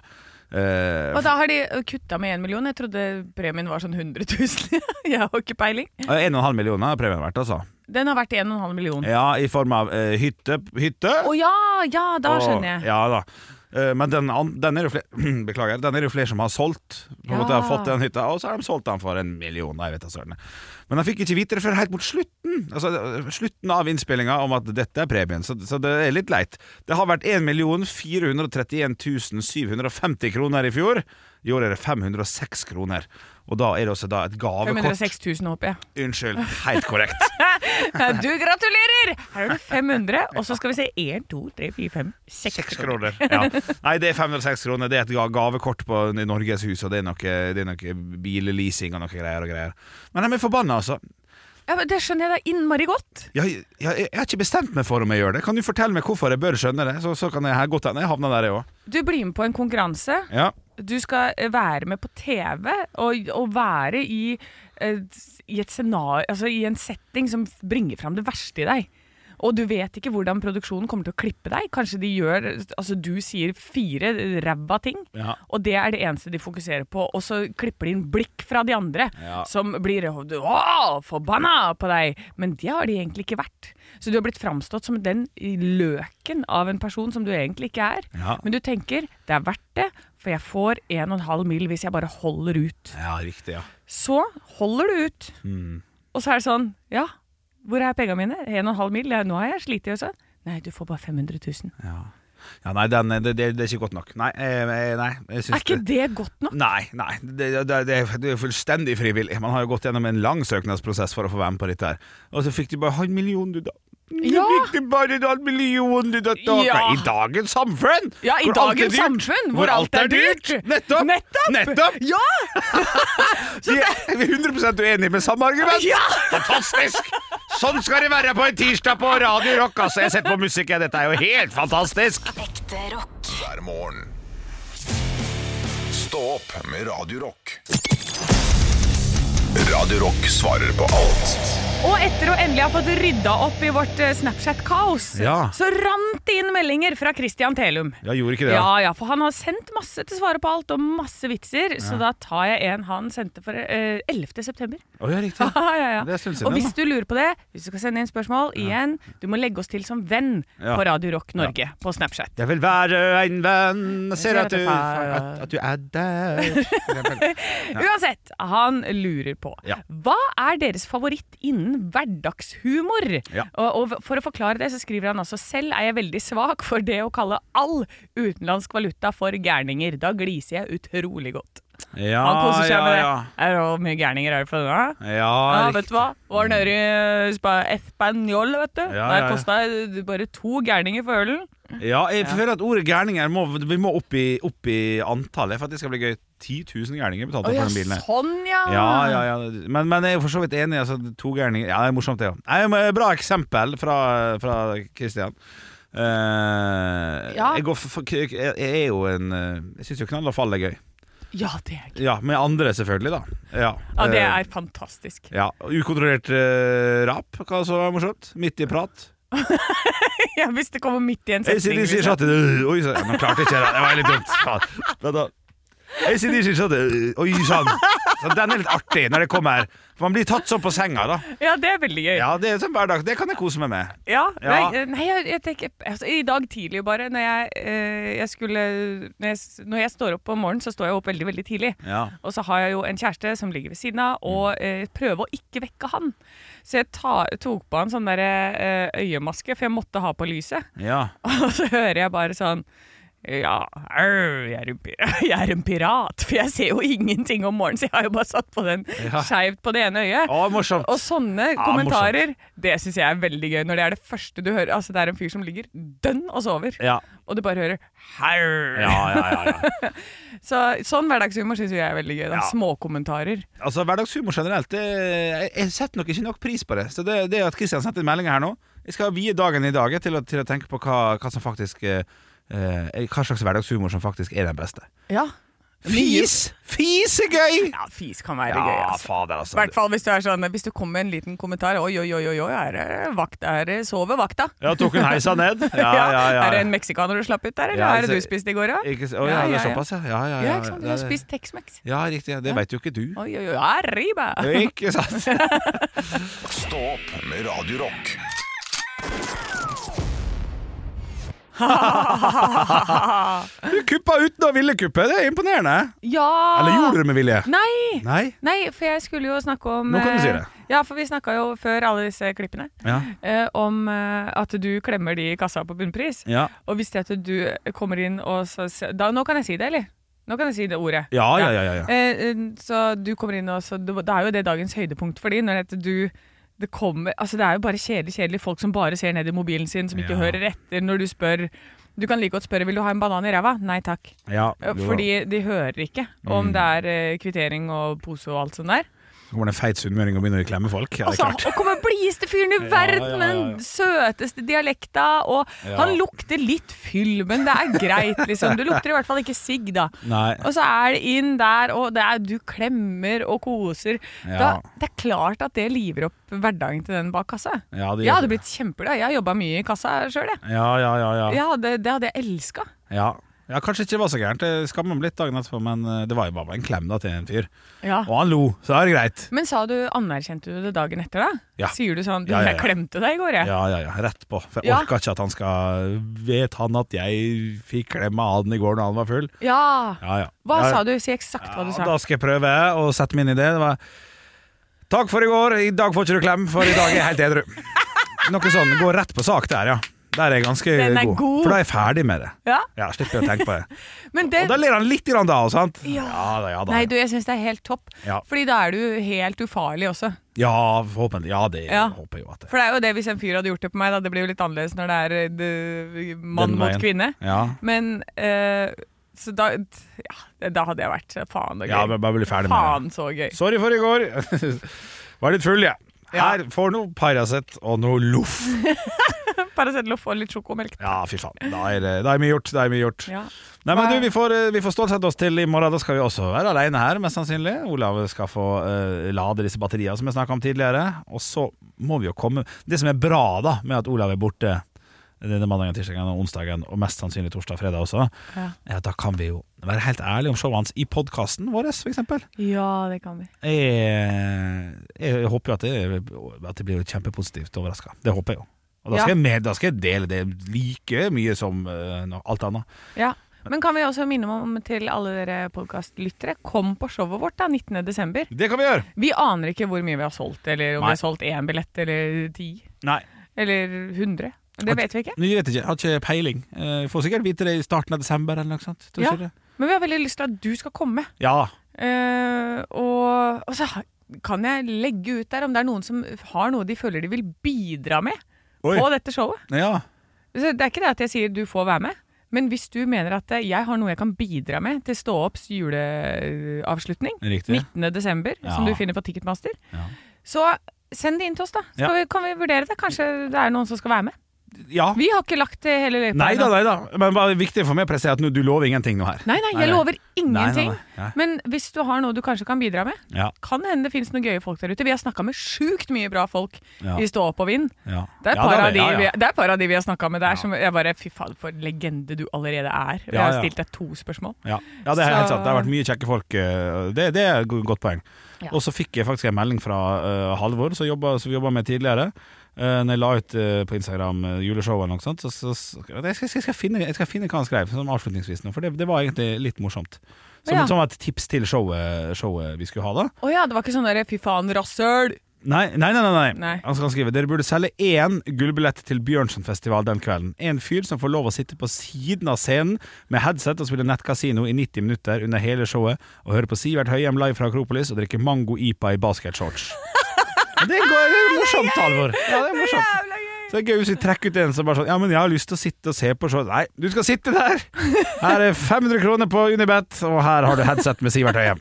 Speaker 3: Eh,
Speaker 2: Og da har de kutta med én million. Jeg trodde premien var sånn 100 000. Jeg har ikke peiling.
Speaker 3: 1,5 millioner har premien vært, altså.
Speaker 2: Den har vært 1,5 million. Å
Speaker 3: Ja, i form av eh, hytte. hytte
Speaker 2: ja, ja, da
Speaker 3: og-
Speaker 2: skjønner jeg.
Speaker 3: Ja da. Eh, Men den, an- den er jo flere Beklager, den er jo flere som har solgt. På en måte har
Speaker 2: Ja.
Speaker 3: fått den hytta, Og så har de solgt den for en million. da, Jeg vet da søren. Men han fikk ikke vite det før helt mot slutten Altså eh, slutten av innspillinga om at dette er premien. Så, så det er litt leit. Det har vært 1 431 750 kroner i fjor. I år er det 506 kroner. Og da er det også da et gavekort.
Speaker 2: 506 000, håper jeg.
Speaker 3: Unnskyld, helt korrekt.
Speaker 2: Du gratulerer! Her har du 500, og så skal vi se 1, 2, 3, 4, 5, 6
Speaker 3: Seks kroner. Ja. Nei, det er 506 kroner. Det er et ga- gavekort på i Norges hus, og det er noe, det er noe billeasing og noe greier og greier. Men de er forbanna, altså.
Speaker 2: Ja, men det skjønner jeg da innmari godt.
Speaker 3: Jeg, jeg, jeg har ikke bestemt meg for om jeg gjør det. Kan du fortelle meg hvorfor jeg bør skjønne det? Så, så kan jeg her godt hende jeg havner der, jeg òg.
Speaker 2: Du blir med på en konkurranse.
Speaker 3: Ja.
Speaker 2: Du skal eh, være med på TV og, og være i, eh, i, et scenario, altså i en setting som bringer fram det verste i deg. Og du vet ikke hvordan produksjonen kommer til å klippe deg. Kanskje de gjør, altså du sier fire ræva ting,
Speaker 3: Ja.
Speaker 2: og det er det eneste de fokuserer på. Og så klipper de inn blikk fra de andre,
Speaker 3: Ja.
Speaker 2: som blir «Åh, forbanna på deg. Men det har de egentlig ikke vært. Så du har blitt framstått som den løken av en person som du egentlig ikke er.
Speaker 3: Ja.
Speaker 2: Men du tenker det er verdt det, for jeg får 1,5 mil hvis jeg bare holder ut.
Speaker 3: ja, riktig, ja.
Speaker 2: Så holder du ut,
Speaker 3: Mm.
Speaker 2: og så er det sånn Ja, hvor er pengene mine? 1,5 mil? Ja, nå har jeg slitt. Og sånn. Nei, du får bare 500 000.
Speaker 3: ja nei, den, det, det, det er ikke godt nok. Nei, jeg, nei, jeg syns
Speaker 2: Er ikke det godt nok?
Speaker 3: Nei, nei. Det, det, det, det er jo fullstendig frivillig. Man har jo gått gjennom en lang søknadsprosess for å få være med på dette her. Og så fikk de bare halv million, du, da.
Speaker 2: Ja.
Speaker 3: Du fikk de bare en halv million, du, da. da.
Speaker 2: Ja.
Speaker 3: Nei, I dagens samfunn!
Speaker 2: Ja, i
Speaker 3: hvor alt er
Speaker 2: dagens
Speaker 3: dyrt.
Speaker 2: samfunn, hvor alt er dyrt.
Speaker 3: Nettopp!
Speaker 2: Nettopp!
Speaker 3: Nettopp.
Speaker 2: Ja!
Speaker 3: Vi er 100 uenige med samme argument!
Speaker 2: Ja!
Speaker 3: Fantastisk! Sånn skal det være på en tirsdag på Radio Rock. Altså, jeg setter på musikk, jeg. Dette er jo helt fantastisk!
Speaker 9: Ekte rock.
Speaker 1: hver morgen. Stå opp med Radio Rock. Radio Rock svarer på alt
Speaker 2: Og etter å endelig ha fått rydda opp i vårt eh, Snapchat-kaos,
Speaker 3: Ja.
Speaker 2: så rant det inn meldinger fra Christian Telum.
Speaker 3: Ja, gjorde ikke det, da.
Speaker 2: Ja, ja, for han har sendt masse til Svaret på alt og masse vitser, så da tar jeg en han sendte for eh, 11. september.
Speaker 3: Å, ja, riktig.
Speaker 2: Ja, ja, ja.
Speaker 3: Det er en stund siden,
Speaker 2: Og hvis
Speaker 3: da.
Speaker 2: du lurer på det, hvis du skal sende inn spørsmål, igjen, du må legge oss til som venn
Speaker 3: Ja.
Speaker 2: på Radio Rock Norge på Snapchat.
Speaker 3: Jeg vil være en venn Jeg ser at du,
Speaker 2: at-
Speaker 3: at du er der
Speaker 2: Uansett, han lurer på
Speaker 3: Ja.
Speaker 2: hva er deres favoritt innen hverdagshumor?
Speaker 3: Ja.
Speaker 2: Og, og for å forklare det, så skriver han altså selv er jeg veldig svak for det å kalle all utenlandsk valuta for gærninger. Da gliser jeg utrolig godt.
Speaker 3: Ja,
Speaker 2: Han koser seg
Speaker 3: ja,
Speaker 2: med det.
Speaker 3: ja
Speaker 2: Er det hvor mye gærninger er det for denne? Ja,
Speaker 3: Ja,
Speaker 2: vet du hva? Var nede i eh, Spa- Espanjol, vet du.
Speaker 3: Ja, ja,
Speaker 2: Der
Speaker 3: ja.
Speaker 2: kosta det bare to gærninger for ølen.
Speaker 3: riktig. ja jeg føler at ordet gærninger må, Vi må opp i, opp i antallet For at det skal bli gøy 10 000 gærninger betalt
Speaker 2: Å
Speaker 3: for
Speaker 2: ja,
Speaker 3: den bilen her.
Speaker 2: sånn ja!
Speaker 3: ja, ja, ja. Men, men jeg er jo for så vidt enig altså, To gærninger, ja det er morsomt det ja. Nei, men eh, Bra eksempel fra, fra Kristian Eh,
Speaker 2: Ja.
Speaker 3: jeg, går for, for- jeg er jo en eh, Jeg synes jo knall og fall er gøy
Speaker 2: Ja, det er gøy.
Speaker 3: Ja, med andre selvfølgelig da Ja,
Speaker 2: Ja, det
Speaker 3: eh,
Speaker 2: er fantastisk.
Speaker 3: Ja, Ukontrollert eh, rap, hva som var morsomt? Midt i prat.
Speaker 2: Ja, hvis det kommer midt i
Speaker 3: Eh,
Speaker 2: en setning.
Speaker 3: ACDC
Speaker 2: liksom.
Speaker 3: satte sånn øh, Oi sann, nå klarte jeg ikke det. Det var litt dumt. Faen. Men da- ACDC satte sånn øh, Oi sann. Så Den er litt artig når det kommer. For man blir tatt sånn på senga, da.
Speaker 2: Ja, det er veldig gøy. Ja.
Speaker 3: Ja, det er sånn hverdag. Det kan jeg kose meg med. Ja.
Speaker 2: Nei, nei jeg, jeg tenker altså, I dag tidlig, bare, når jeg, eh, jeg skulle når jeg, s- når jeg står opp om morgenen, så står jeg opp veldig, veldig tidlig.
Speaker 3: Ja.
Speaker 2: Og så har jeg jo en kjæreste som ligger ved siden av, og
Speaker 3: Mm.
Speaker 2: eh, prøver å ikke vekke han. Så jeg ta, tok på han sånn der, eh, øyemaske, for jeg måtte ha på lyset.
Speaker 3: Ja.
Speaker 2: Og så hører jeg bare sånn ja, au, jeg er, en, pir- jeg er en pirat, for jeg ser jo ingenting om morgenen, så jeg har jo bare satt på den
Speaker 3: Ja.
Speaker 2: skeivt på det ene øyet.
Speaker 3: Å, ah, morsomt.
Speaker 2: Og sånne
Speaker 3: Ja,
Speaker 2: kommentarer, det syns jeg er veldig gøy. Når det er det første du hører. Altså, det er en fyr som ligger dønn og sover,
Speaker 3: Ja.
Speaker 2: og du bare hører Hau!
Speaker 3: Ja, ja, ja, ja.
Speaker 2: Så, sånn hverdagshumor syns jeg er veldig gøy. Da.
Speaker 3: Ja.
Speaker 2: Småkommentarer.
Speaker 3: Altså, hverdagshumor generelt, det, jeg, jeg setter nok ikke nok pris på det. Så det, det at Kristian sendte en melding her nå Jeg skal vie dagen i dag til å, til å tenke på hva, hva som faktisk eh, eh, Hva slags hverdagshumor som faktisk er den beste.
Speaker 2: Ja.
Speaker 3: Fis! Fis er gøy!
Speaker 2: ja, fis kan være gøy. Altså.
Speaker 3: fader,
Speaker 2: I hvert fall hvis du er sånn Hvis du kommer med en liten kommentar Oi, oi, oi, oi, oi er det vakt, er det sover vakta?
Speaker 3: Ja, tok hun heisa ned? Ja, ja, ja.
Speaker 2: Er det en meksikaner du slapp ut der, eller
Speaker 3: Ja,
Speaker 2: er det
Speaker 3: altså-
Speaker 2: du spiste i går, da?
Speaker 3: Ikke, s- å,
Speaker 2: Ja,
Speaker 3: ja, det er
Speaker 2: ja, ja.
Speaker 3: såpass, ja. Ja, ja, ja.
Speaker 2: Ja, ikke sant? Du har
Speaker 3: Det-
Speaker 2: spist Tex-Mex.
Speaker 3: Ja, riktig. Ja. Det veit jo ikke du.
Speaker 2: Oi, oi, oi, arriba!
Speaker 3: Ikke sant?
Speaker 1: Stå opp med Radio Rock
Speaker 3: Du kuppa uten å ville kuppe. Det er imponerende.
Speaker 2: Ja!
Speaker 3: Eller gjorde du det med vilje?
Speaker 2: Nei!
Speaker 3: Nei?
Speaker 2: Nei, for jeg skulle jo snakke om
Speaker 3: Nå kan du si
Speaker 2: eh,
Speaker 3: det.
Speaker 2: Ja, for vi snakka jo før alle disse klippene
Speaker 3: Ja.
Speaker 2: eh, om eh, at du klemmer de i kassa på bunnpris.
Speaker 3: ja.
Speaker 2: Og hvis det at du kommer inn og så se- da, Nå kan jeg si det, eller? Nå kan jeg si det ordet.
Speaker 3: Ja, Ah, ja, ja, ja, ja.
Speaker 2: Eh, eh, så du kommer inn, og så det var- da er jo det dagens høydepunkt for de, når det, at du det kommer, altså det er jo bare kjedelig, kjedelig folk som bare ser ned i mobilen sin, som ikke
Speaker 3: Ja.
Speaker 2: hører etter når du spør Du kan like godt spørre vil du ha en banan i ræva. Nei takk.
Speaker 3: Ja,
Speaker 2: Eh,
Speaker 3: jo. Mm.
Speaker 2: Fordi de hører ikke om det er eh, kvittering og pose og alt sånt der.
Speaker 3: Så kommer det en feit sunnmøring og begynner å klemme folk. Ja,
Speaker 2: Og
Speaker 3: det
Speaker 2: så
Speaker 3: er klart.
Speaker 2: og kommer blideste fyren i verden med den søteste dialekta, og han lukter litt fyll, men det er greit, liksom. Du lukter i hvert fall ikke sigg, da.
Speaker 3: Nei.
Speaker 2: Og så er det inn der, og det er, du klemmer og koser. Da,
Speaker 3: Ja.
Speaker 2: det er klart at det liver opp hverdagen til den bak kassa.
Speaker 3: Ja, det gjør
Speaker 2: jeg hadde
Speaker 3: det.
Speaker 2: blitt kjempeglad. Jeg har jobba mye i kassa sjøl, jeg.
Speaker 3: Ja, ja, ja, ja.
Speaker 2: jeg hadde, det hadde jeg elska.
Speaker 3: Ja. ja, kanskje ikke det var så gærent. Jeg skammer meg litt dagen etterpå, men eh, det var jo bare en klem da til en fyr.
Speaker 2: Ja.
Speaker 3: Og han lo, så da er det greit.
Speaker 2: Men sa du, anerkjente du det dagen etter, da?
Speaker 3: Ja.
Speaker 2: Sier du sånn du,
Speaker 3: Ja, ja,
Speaker 2: 'Jeg
Speaker 3: ja.
Speaker 2: klemte deg i går, jeg'.
Speaker 3: Ja, ja, ja, rett på. For jeg
Speaker 2: Ja.
Speaker 3: orker ikke at han skal Vet han at jeg fikk klem av han i går når han var full?
Speaker 2: Ja.
Speaker 3: Ja, ja.
Speaker 2: Hva
Speaker 3: ja.
Speaker 2: sa du? Si eksakt hva du sa.
Speaker 3: Ja, da skal jeg prøve å sette meg inn i det. det var, Takk for i går, i dag får ikke du klem, for i dag er jeg helt edru. Noe sånn, Går rett på sak der, ja. Der er jeg ganske
Speaker 2: Den er
Speaker 3: god.
Speaker 2: god.
Speaker 3: For da er jeg ferdig med det.
Speaker 2: Ja.
Speaker 3: Ja, Slipper jeg å tenke på det.
Speaker 2: Men det,
Speaker 3: Og da ler han litt grann da òg, sant?
Speaker 2: Ja.
Speaker 3: da, ja da.
Speaker 2: Nei, du, jeg syns det er helt topp.
Speaker 3: Ja.
Speaker 2: Fordi da er du helt ufarlig også.
Speaker 3: Ja, forhåpentlig. Ja, det
Speaker 2: Ja.
Speaker 3: håper jeg jo at det
Speaker 2: For det er jo det hvis en fyr hadde gjort det på meg, da. Det blir jo litt annerledes når det er eh, det, mann
Speaker 3: Den
Speaker 2: mot
Speaker 3: veien.
Speaker 2: kvinne.
Speaker 3: Ja,
Speaker 2: Men eh, så da Ja, da hadde jeg vært eh, faen og gøy.
Speaker 3: ja men bare bli ferdig med det.
Speaker 2: faen så gøy.
Speaker 3: Sorry for i går. Var litt full, jeg. Her får noe Paracet og noe loff.
Speaker 2: Paracelloff og litt sjokomelk.
Speaker 3: Ja, fy faen. Da er det da er mye gjort. Da er mye gjort.
Speaker 2: Ja.
Speaker 3: Nei, men du, vi får, eh, vi får stålsette oss til i morgen. Da skal vi også være alene her, mest sannsynlig. Olav skal få eh, lade disse batteriene som jeg snakka om tidligere. Og så må vi jo komme Det som er bra da med at Olav er borte denne mandagen, tirsdagen og onsdagen, og mest sannsynlig torsdag og fredag også,
Speaker 2: Ja.
Speaker 3: er at da kan vi jo være helt ærlige om showet hans i podkasten vår, f.eks.
Speaker 2: ja, det kan vi.
Speaker 3: Jeg, eh, jeg håper jo at det, at det blir jo kjempepositivt overraska. Det håper jeg jo. Og da
Speaker 2: Ja.
Speaker 3: skal, jeg med, da skal jeg dele det like mye som eh, no- alt annet.
Speaker 2: Ja. Men kan vi også minne om til alle dere podkastlyttere, kom på showet vårt da, 19.12.
Speaker 3: Det kan vi gjøre!
Speaker 2: Vi aner ikke hvor mye vi har solgt, eller om
Speaker 3: Nei.
Speaker 2: vi har solgt én billett, eller ti,
Speaker 3: Nei.
Speaker 2: eller 100. Det vet vi ikke.
Speaker 3: Men Jeg vet ikke, jeg har ikke peiling. Eh, får sikkert vite det i starten av desember eller noe sånt. Tror
Speaker 2: Ja.
Speaker 3: ikke det?
Speaker 2: Men vi har veldig lyst til at du skal komme.
Speaker 3: ja.
Speaker 2: Eh, og, og så ha- kan jeg legge ut der om det er noen som har noe de føler de vil bidra med
Speaker 3: Oi.
Speaker 2: på dette showet.
Speaker 3: ja.
Speaker 2: Så det er ikke det at jeg sier du får være med, men hvis du mener at eh, jeg har noe jeg kan bidra med til Stå opps juleavslutning
Speaker 3: Riktig.
Speaker 2: 19. desember,
Speaker 3: Ja.
Speaker 2: som du finner på Ticketmaster,
Speaker 3: Ja.
Speaker 2: så send det inn til oss, da. Skal
Speaker 3: Ja.
Speaker 2: vi, kan vi vurdere det? Kanskje det er noen som skal være med?
Speaker 3: Ja.
Speaker 2: Vi har ikke lagt eh, hele løypa
Speaker 3: Nei da,
Speaker 2: ennå.
Speaker 3: nei da. Men bare viktig for meg å presisere at nå- du lover ingenting nå her.
Speaker 2: Nei, nei, jeg
Speaker 3: Nei, nei.
Speaker 2: lover ingenting.
Speaker 3: Nei, nei, nei.
Speaker 2: Men hvis du har noe du kanskje kan bidra med,
Speaker 3: Ja.
Speaker 2: kan hende det finnes noen gøye folk der ute. Vi har snakka med sjukt mye bra folk
Speaker 3: Ja.
Speaker 2: i Stå opp og vinn.
Speaker 3: Ja.
Speaker 2: Det er
Speaker 3: Ja,
Speaker 2: et par
Speaker 3: da,
Speaker 2: av de
Speaker 3: ja,
Speaker 2: vi-
Speaker 3: ja.
Speaker 2: det er et par av de vi har snakka med der som jeg bare Fy faen, for legende du allerede er. Og Jeg
Speaker 3: Ja,
Speaker 2: har
Speaker 3: ja.
Speaker 2: stilt deg to spørsmål.
Speaker 3: Ja. ja, det er
Speaker 2: Så-
Speaker 3: helt sant. Det har vært mye kjekke folk. eh, Det, det er et go- godt poeng.
Speaker 2: Ja.
Speaker 3: Og så fikk jeg faktisk en melding fra eh, Halvor, som jobba- som vi jobba med tidligere. Uh, når jeg la ut eh, på Instagram uh, juleshowet eller noe sånt, så, så, så jeg, skal, jeg, skal finne, jeg skal finne hva han skrev, som avslutningsvis nå, for det, det var egentlig litt morsomt. Som,
Speaker 2: Ja.
Speaker 3: som et tips til showet, showet vi skulle ha da.
Speaker 2: Å ja, det var ikke sånn derre fy faen, rasshøl!
Speaker 3: Nei, nei, nei, nei, nei.
Speaker 2: Nei.
Speaker 3: Han skal skrive Dere burde selge én gullbillett til Bjørnsonfestival den kvelden. En fyr som får lov å sitte på siden av scenen med headset og spille nettkasino i 90 minutter under hele showet, og høre på Sivert Høyem live fra Akropolis og drikke mango-ipa i basketshorts. Men Det er go- det er morsomt, Halvor. Ja, det er morsomt. Så det er gøy hvis vi trekker ut en som bare sånn Ja, men jeg har lyst til å sitte og se på showet. Nei, du skal sitte der! Her er 500 kroner på Unibet, og her har du headset med Sivert Høyem.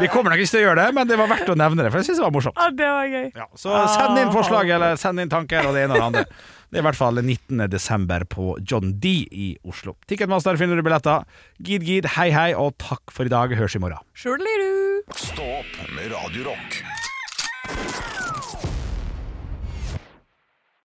Speaker 3: Vi kommer nok ikke til å gjøre det, men det var verdt å nevne det, for jeg syns det var morsomt.
Speaker 2: Ja, det var gøy.
Speaker 3: Ja, så send inn forslag eller send inn tanker og det ene og det andre. Det er i hvert fall 19. desember på John D i Oslo. Ticketmaster finner du billetter. Gid, gid, hei, hei, og takk for i dag. Høres i morgen.
Speaker 2: Sjøl lir du.
Speaker 1: Stå opp med Radio Rock.